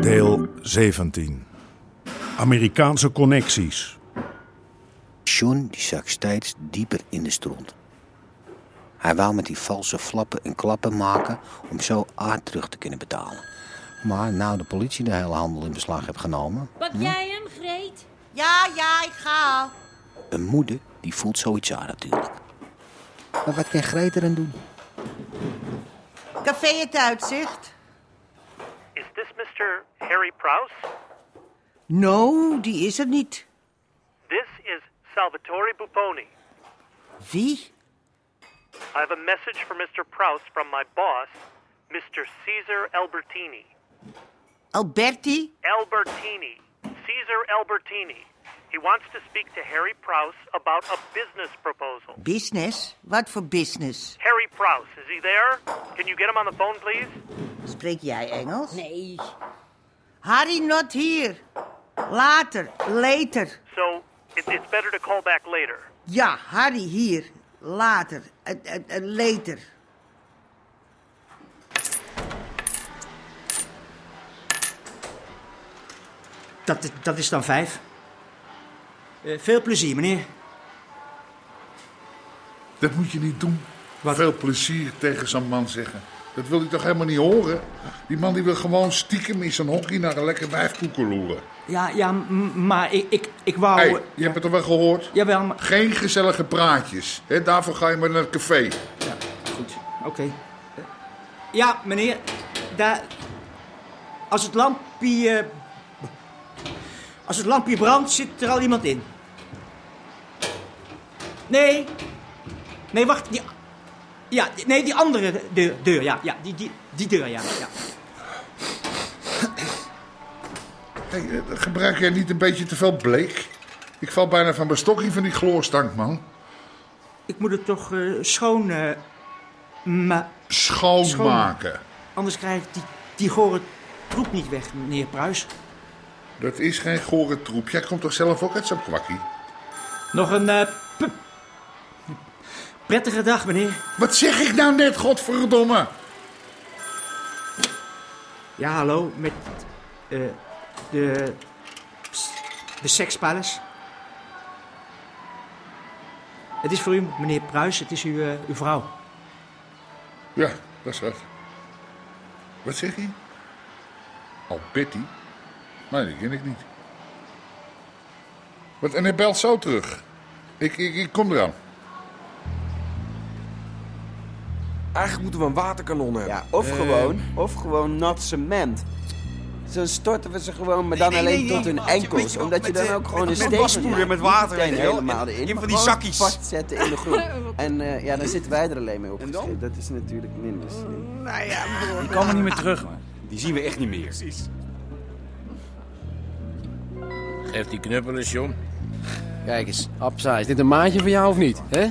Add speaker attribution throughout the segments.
Speaker 1: Deel 17. Amerikaanse connecties.
Speaker 2: John die zak steeds dieper in de stront. Hij wou met die valse flappen en klappen maken om zo aard terug te kunnen betalen. Maar nou de politie de hele handel in beslag heeft genomen,
Speaker 3: Pak jij hem, Greet?
Speaker 4: Ja, ja, ik ga al.
Speaker 2: een moeder die voelt zoiets aan natuurlijk. Maar wat kan Greet eraan doen?
Speaker 4: Café Het Uitzicht.
Speaker 5: Is this Mr. Harry Prouse?
Speaker 4: No, die is er niet.
Speaker 5: This is Salvatore Buponi.
Speaker 4: Wie?
Speaker 5: I have a message for Mr. Prouse from my boss, Mr. Caesar Albertini.
Speaker 4: Alberti?
Speaker 5: Albertini. Caesar Albertini. He wants to speak to Harry Prouse about a business proposal.
Speaker 4: Business? Wat voor business?
Speaker 5: Harry Prouse, is he there? Can you get him on the phone, please?
Speaker 4: Spreek jij Engels?
Speaker 3: Nee.
Speaker 4: Harry not here. Later, later.
Speaker 5: So, it, it's better to call back later.
Speaker 4: Ja, Harry hier. Later, Eh, eh, eh, later.
Speaker 6: Dat, dat is dan vijf. Eh, veel plezier, meneer.
Speaker 7: Dat moet je niet doen.
Speaker 6: Wat?
Speaker 7: Veel plezier tegen zo'n man zeggen. Dat wil hij toch helemaal niet horen? Die man die wil gewoon stiekem in zijn hockey naar een lekker wijf koeken loeren.
Speaker 6: Ja, ja, m- maar ik, ik, ik wou...
Speaker 7: hey, je hebt het toch wel gehoord?
Speaker 6: Jawel, maar...
Speaker 7: Geen gezellige praatjes. Hè, daarvoor ga je maar naar het café.
Speaker 6: Ja, goed, oké. Eh, Ja, meneer, daar... Als het lampje... eh, Als het lampje brandt, zit er al iemand in. Nee. Nee, wacht, die... Ja, die- nee, die andere deur, deur ja, ja, die, die, die deur, ja, ja.
Speaker 7: Hey, eh, gebruik jij niet een beetje te veel bleek? Ik val bijna van mijn stokje van die chloorstank, man.
Speaker 6: Ik moet het toch eh, schoon... eh, ma
Speaker 7: Schoonmaken.
Speaker 6: Anders krijg ik die, die gore troep niet weg, meneer Pruis.
Speaker 7: Dat is geen gore troep. Jij komt toch zelf ook uit zo'n kwakkie?
Speaker 6: Nog een eh, p- prettige dag, meneer.
Speaker 7: Wat zeg ik nou net, godverdomme?
Speaker 6: Ja, hallo, met eh, de, de Sex Palace. Het is voor u, meneer Pruis, het is uw, eh, uw vrouw.
Speaker 7: Ja, dat is wat. Wat zeg je? Alberti? Nee, die ken ik niet. Wat, en hij belt zo terug. Ik, ik, ik kom eraan.
Speaker 8: Eigenlijk moeten we een waterkanon hebben.
Speaker 9: Ja, of gewoon, of gewoon nat cement. Dan storten we ze gewoon, maar dan alleen tot hun enkels. omdat je dan ook gewoon
Speaker 8: met
Speaker 9: een steen...
Speaker 8: waspoeder en met water
Speaker 9: Meteen
Speaker 8: en heel-
Speaker 9: helemaal
Speaker 8: en-
Speaker 9: erin.
Speaker 8: in van
Speaker 9: maar
Speaker 8: die
Speaker 9: gewoon
Speaker 8: zakkies.
Speaker 9: vastzetten in de groen. En eh, ja, dan zitten wij er alleen mee op. Dat is natuurlijk minder
Speaker 8: Mm,
Speaker 9: slim.
Speaker 8: nou
Speaker 10: Die komen niet meer terug, man.
Speaker 8: Die zien we echt niet meer.
Speaker 11: Geef die knuppel eens, John.
Speaker 9: Kijk eens, Absa, is dit een maatje van jou of niet? Hè?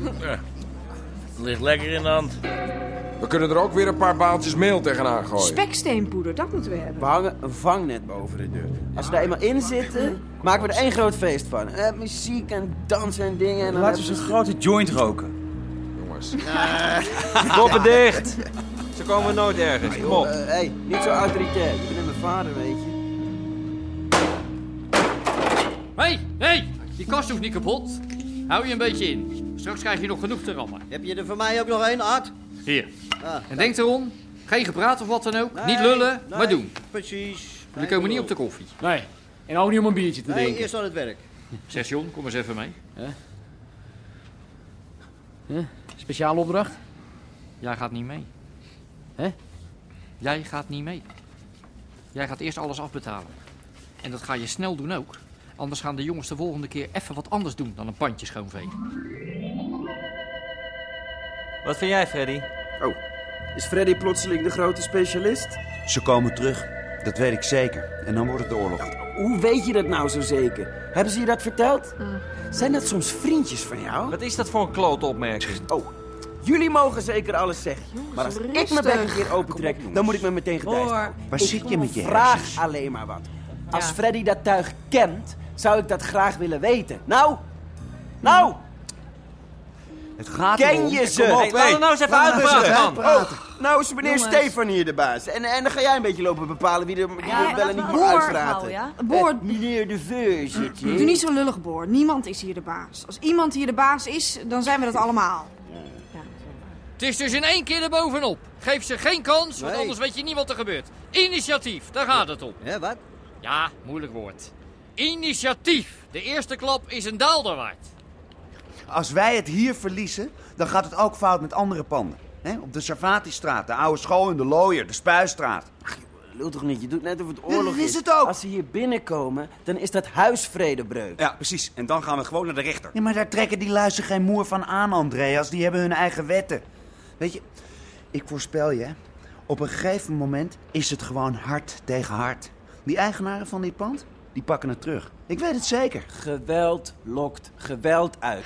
Speaker 11: Het ligt lekker in de hand.
Speaker 8: We kunnen er ook weer een paar baaltjes meel tegenaan gooien.
Speaker 3: Speksteenpoeder, dat moeten we hebben.
Speaker 9: We hangen een vangnet boven de deur. Als we er eenmaal in zitten, maken we er één groot feest van. Eh, muziek en dansen en dingen. En dan
Speaker 10: Laten we
Speaker 9: hebben
Speaker 10: zo'n grote joint roken.
Speaker 8: Jongens. Koppen dicht. Ze komen nooit ergens. Kom op.
Speaker 9: Hé, hey, niet zo autoritair. Je bent mijn vader, weet je.
Speaker 12: Hé, hé, die kast hoeft niet kapot. Hou je een beetje in. Straks krijg je nog genoeg te rammen.
Speaker 4: Heb je er voor mij ook nog één, Art?
Speaker 12: Hier. en denk erom, geen gepraat of wat dan ook. niet lullen, maar doen.
Speaker 4: Precies.
Speaker 12: Jullie komen niet op de koffie.
Speaker 10: Nee, en ook niet om een biertje te drinken.
Speaker 4: aan het werk.
Speaker 12: Zeg John, kom eens even mee.
Speaker 9: Speciale opdracht?
Speaker 12: Jij gaat niet mee.
Speaker 9: Hè?
Speaker 12: Jij gaat niet mee. Jij gaat eerst alles afbetalen. En dat ga je snel doen ook. Anders gaan de jongens de volgende keer even wat anders doen dan een pandje schoonvegen.
Speaker 13: Wat vind jij, Freddy?
Speaker 9: Oh, is Freddy plotseling de grote specialist?
Speaker 2: Ze komen terug. Dat weet ik zeker. En dan wordt het oorlog.
Speaker 9: Hoe weet je dat nou zo zeker? Hebben ze je dat verteld?
Speaker 2: Eh.
Speaker 9: Zijn dat soms vriendjes van jou?
Speaker 13: Wat is dat voor een klote opmerking?
Speaker 9: Oh, jullie mogen zeker alles zeggen. maar als ik mijn bek een keer opentrek, dan moet ik me meteen gedijst
Speaker 2: Hoor.
Speaker 9: houden.
Speaker 2: Waar
Speaker 9: Ik
Speaker 2: zit je met je
Speaker 9: vraag
Speaker 2: hersens?
Speaker 9: alleen maar wat. Als Freddy dat tuig kent, zou ik dat graag willen weten. Nou, nou,
Speaker 2: Het gaat
Speaker 9: ken
Speaker 2: erom-
Speaker 9: je
Speaker 2: Kom
Speaker 9: ze?
Speaker 2: op, hey, laat het nou eens even uitpraten, man.
Speaker 9: Oh, nou is meneer
Speaker 3: Jongens.
Speaker 9: Stefan hier de baas. En, en dan ga jij een beetje lopen bepalen wie er wie
Speaker 3: Ja,
Speaker 9: er wel
Speaker 3: laten
Speaker 9: en niet
Speaker 3: we
Speaker 9: mag
Speaker 3: boord
Speaker 9: uitpraten.
Speaker 3: houden, ja?
Speaker 9: Eh,
Speaker 3: Boord.
Speaker 9: Meneer de voorzitter.
Speaker 3: Doe niet zo lullig, Boor. Niemand is hier de baas. Als iemand hier de baas is, dan zijn we dat allemaal.
Speaker 12: Het is dus in één keer erbovenop. Geef ze geen kans, want
Speaker 3: Nee.
Speaker 12: anders weet je niet wat er gebeurt. Initiatief, daar gaat het om.
Speaker 9: Ja, wat?
Speaker 12: Ja, moeilijk woord. Initiatief. De eerste klap is een daalder waard.
Speaker 2: Als wij het hier verliezen, dan gaat het ook fout met andere panden. Hè? Op de Savatistraat, de Oude School in de Looier, de Spuistraat.
Speaker 9: Lul toch niet, je doet net of het
Speaker 2: oorlog
Speaker 9: is
Speaker 2: het ook.
Speaker 9: Als ze hier binnenkomen, dan is dat huisvredebreuk.
Speaker 2: Ja, precies. En dan gaan we gewoon naar de rechter. Ja, maar daar trekken die luizen geen moer van aan, Andreas. Die hebben hun eigen wetten. Weet je, ik voorspel je, op een gegeven moment is het gewoon hard tegen hard. Die eigenaren van dit pand, die pakken het terug. Ik weet het zeker.
Speaker 9: Geweld lokt geweld uit.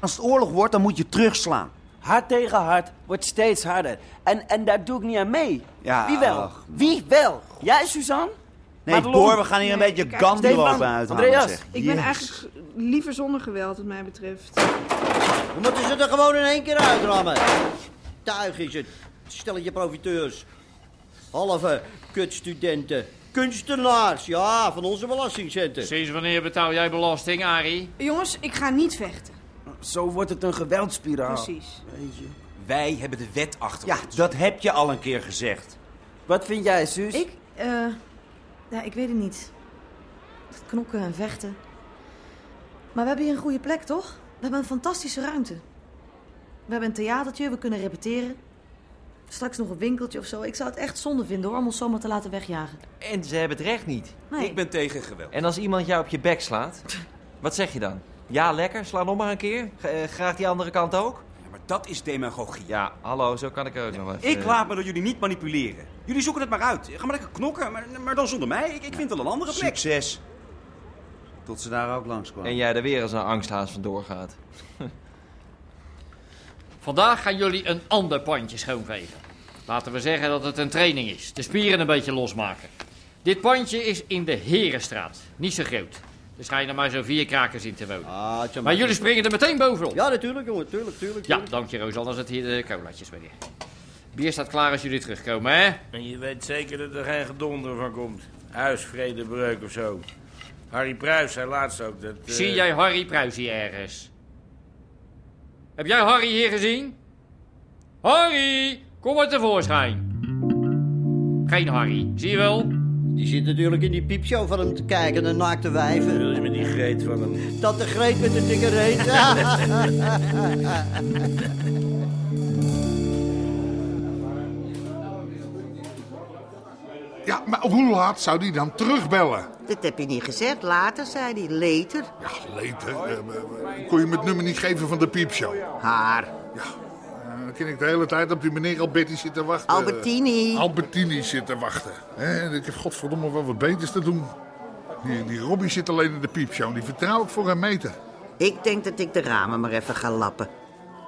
Speaker 2: Als het oorlog wordt, dan moet je terugslaan.
Speaker 9: Hard tegen hard wordt steeds harder. En, en daar doe ik niet aan mee.
Speaker 2: Ja,
Speaker 9: Wie wel?
Speaker 2: ach,
Speaker 9: Wie wel? Jij, Suzanne?
Speaker 2: Nee,
Speaker 9: Madelon?
Speaker 2: Boor, we gaan hier een
Speaker 9: Nee,
Speaker 2: beetje
Speaker 9: ik kijk-
Speaker 2: gandlopen
Speaker 9: Stefan,
Speaker 2: uithalen,
Speaker 9: Andreas,
Speaker 2: zeg.
Speaker 3: Ik ben
Speaker 2: Jezus.
Speaker 3: eigenlijk liever zonder geweld, wat mij betreft.
Speaker 14: We moeten ze er gewoon in één keer uitrammen. Tuig is het. Stelletje profiteurs. Halve kutstudenten. Kunstenaars, ja, van onze belastingcenten.
Speaker 12: Sinds wanneer betaal jij belasting, Arie?
Speaker 3: Jongens, ik ga niet vechten.
Speaker 9: Zo wordt het een geweldspiraal.
Speaker 3: Precies.
Speaker 9: Weet je.
Speaker 2: Wij hebben de wet achter ons. Dat heb je al een keer gezegd.
Speaker 9: Wat vind jij, Suus?
Speaker 15: Ik, eh, ja, ik weet het niet. Dat knokken en vechten. Maar we hebben hier een goede plek, toch? We hebben een fantastische ruimte. We hebben een theatertje, we kunnen repeteren. Straks nog een winkeltje of zo. Ik zou het echt zonde vinden hoor, om ons zomaar te laten wegjagen.
Speaker 13: En ze hebben het recht niet.
Speaker 15: Nee. Ik
Speaker 13: ben tegen geweld. En als iemand jou op je bek slaat, wat zeg je dan? Ja, lekker, sla nog maar een keer. G- eh, graag die andere kant ook? Ja, maar dat is demagogie. Ja, hallo, zo kan ik ook nog even.
Speaker 16: Ik laat me door jullie niet manipuleren. Jullie zoeken het maar uit. Ga maar lekker knokken, maar, maar dan zonder mij. Ik, ik vind wel een andere plek.
Speaker 2: Succes. Tot ze daar ook langskwamen.
Speaker 13: En jij er weer als een angsthaas vandoor gaat.
Speaker 12: Vandaag gaan jullie een ander pandje schoonvegen. Laten we zeggen dat het een training is. De spieren een beetje losmaken. Dit pandje is in de Herenstraat. Niet zo groot. Dus ga je er maar zo vier krakers in te wonen. maar jullie springen er meteen bovenop. Ja, natuurlijk jongen. Tuurlijk, tuurlijk. Ja, dank je Roos. Anders het hier de colaatjes weer. Bier staat klaar als jullie terugkomen, hè?
Speaker 11: En je weet zeker dat er geen gedonder van komt. Huisvredebreuk of zo. Harry Pruis zei laatst ook dat... eh,
Speaker 12: Zie jij Harry Pruis hier ergens? Heb jij Harry hier gezien? Harry, kom maar tevoorschijn. Geen Harry, zie je wel?
Speaker 14: Die zit natuurlijk in die piepshow van hem te kijken, de naakte wijven. Wil je met die greet van hem? Dat de greet met de dikke reet.
Speaker 7: Ja, maar hoe laat zou die dan terugbellen?
Speaker 4: Dat heb je niet gezegd. Later, zei hij. Later.
Speaker 7: Later. eh, eh, kon je me het nummer niet geven van de piepshow? Haar. Ja. eh, Dan ken ik de hele tijd op die meneer Alberti zitten wachten.
Speaker 4: Albertini.
Speaker 7: Albertini zitten wachten. Hè, en ik heb godverdomme wel wat beters te doen. Die, die Robbie zit alleen in de piepshow. en Die vertrouw ik voor een meter.
Speaker 4: Ik denk dat ik de ramen maar even ga lappen.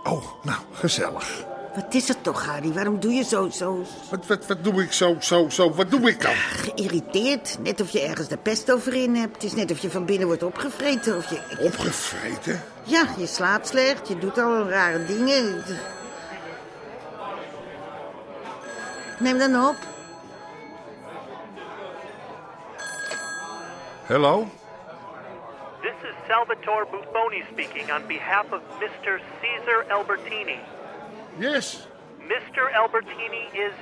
Speaker 7: Oh, nou, gezellig.
Speaker 4: Wat is het toch, Harry? Waarom doe je zo, zo...
Speaker 7: Wat, wat, wat doe ik zo, zo, zo? Wat doe ik dan?
Speaker 4: Geïrriteerd. Net of je ergens de pest over in hebt. Het is net of je van binnen wordt opgevreten. Of je...
Speaker 7: Opgevreten?
Speaker 4: Ja, je slaapt slecht. Je doet al rare dingen. Neem dan op.
Speaker 7: Hallo?
Speaker 5: This is Salvatore Buffoni speaking on behalf of Mr. Caesar Albertini.
Speaker 7: Yes.
Speaker 5: Mr. Albertini is,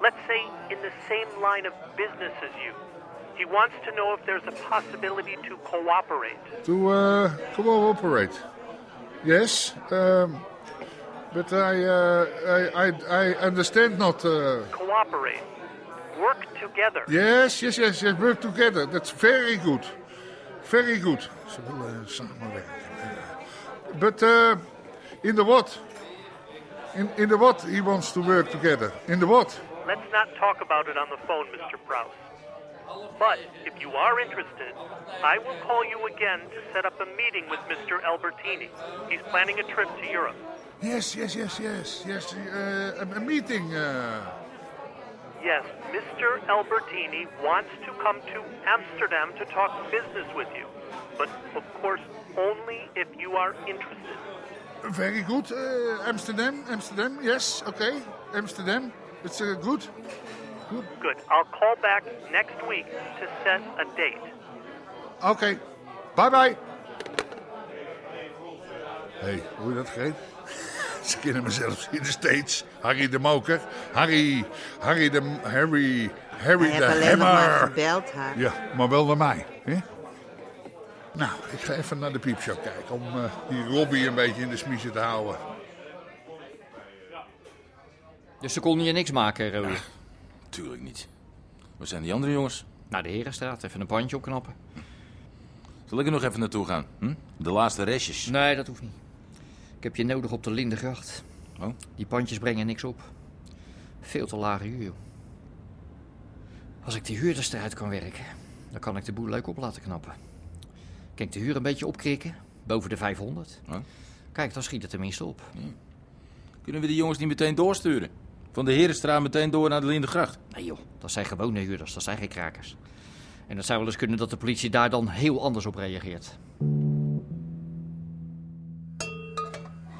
Speaker 5: let's say, in the same line of business as you. He wants to know if there's a possibility to cooperate.
Speaker 7: To uh, cooperate. Yes, um, eh, but I, uh, I, I, I understand not. Uh,
Speaker 5: Cooperate. work together.
Speaker 7: Yes, yes, yes, yes. Work together. That's very good. Very good. Ze willen eh, samenwerken. But uh, in the what? In, in the what he wants to work together? In the what?
Speaker 5: Let's not talk about it on the phone, Mr. Prouse. But if you are interested, I will call you again to set up a meeting with Mr. Albertini. He's planning a trip to Europe.
Speaker 7: Yes, yes, yes, yes, yes. Uh, a, a meeting. Uh,
Speaker 5: Yes, Mr. Albertini wants to come to Amsterdam to talk business with you. But of course, only if you are interested.
Speaker 7: very good. Uh, Amsterdam, Amsterdam. Yes, okay. Amsterdam. It's uh, good.
Speaker 5: Good. I'll call back next week to set a date.
Speaker 7: Okay. Bye bye. hey, hoor je dat, Greet? Ze kennen mezelf hier nog steeds. Harry de Moker. Harry, Harry de... Harry, Harry
Speaker 4: Hij
Speaker 7: de
Speaker 4: heeft alleen nog maar
Speaker 7: Hammer.
Speaker 4: gebeld, haar.
Speaker 7: Ja, maar wel naar mij. Hè? Nou, ik ga even naar de piepshow kijken om eh, die Robbie een beetje in de smiezen te houden.
Speaker 12: Dus ze konden je niks maken, Roy?
Speaker 17: Tuurlijk niet. Waar zijn die andere jongens?
Speaker 12: Naar de Herenstraat, even een pandje opknappen.
Speaker 17: Zal ik er nog even naartoe gaan? Hm? De laatste restjes.
Speaker 12: Nee, dat hoeft niet. Ik heb je nodig op de Lindengracht.
Speaker 17: Oh?
Speaker 12: Die pandjes brengen niks op. Veel te lage huur, joh. Als ik die huurders eruit kan werken, dan kan ik de boel leuk op laten knappen. Kan ik de huur een beetje opkrikken, boven de 500. Kijk, dan schiet het tenminste op.
Speaker 17: Kunnen we die jongens niet meteen doorsturen? Van de Herenstraat meteen door naar de Lindengracht.
Speaker 12: Nee joh, dat zijn gewone huurders, dat zijn geen krakers. En het zou wel eens kunnen dat de politie daar dan heel anders op reageert.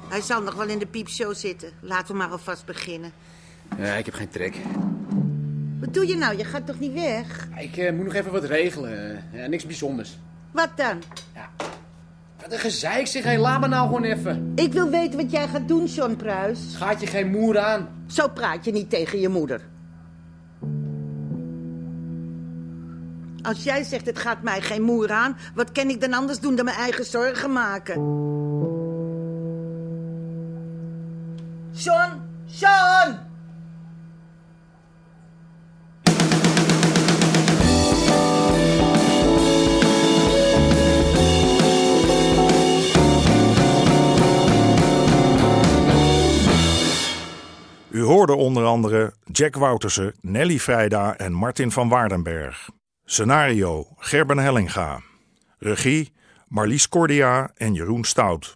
Speaker 4: Hij zal nog wel in de piepshow zitten. Laten we maar alvast beginnen.
Speaker 10: Ja, ik heb geen trek.
Speaker 4: Wat doe je nou? Je gaat toch niet weg?
Speaker 10: Ik eh, moet nog even wat regelen. Eh, Ja, niks bijzonders.
Speaker 4: Wat dan?
Speaker 10: Wat een gezeik zeg. Hé, laat me nou gewoon even.
Speaker 4: Ik wil weten wat jij gaat doen, John Pruis.
Speaker 10: Gaat je geen moer aan?
Speaker 4: Zo praat je niet tegen je moeder. Als jij zegt het gaat mij geen moer aan, wat kan ik dan anders doen dan mijn eigen zorgen maken? John, John!
Speaker 1: U hoorde onder andere Jack Woutersen, Nelly Vrijda en Martin van Waardenberg. Scenario Gerben Hellinga. Regie Marlies Cordia en Jeroen Stout.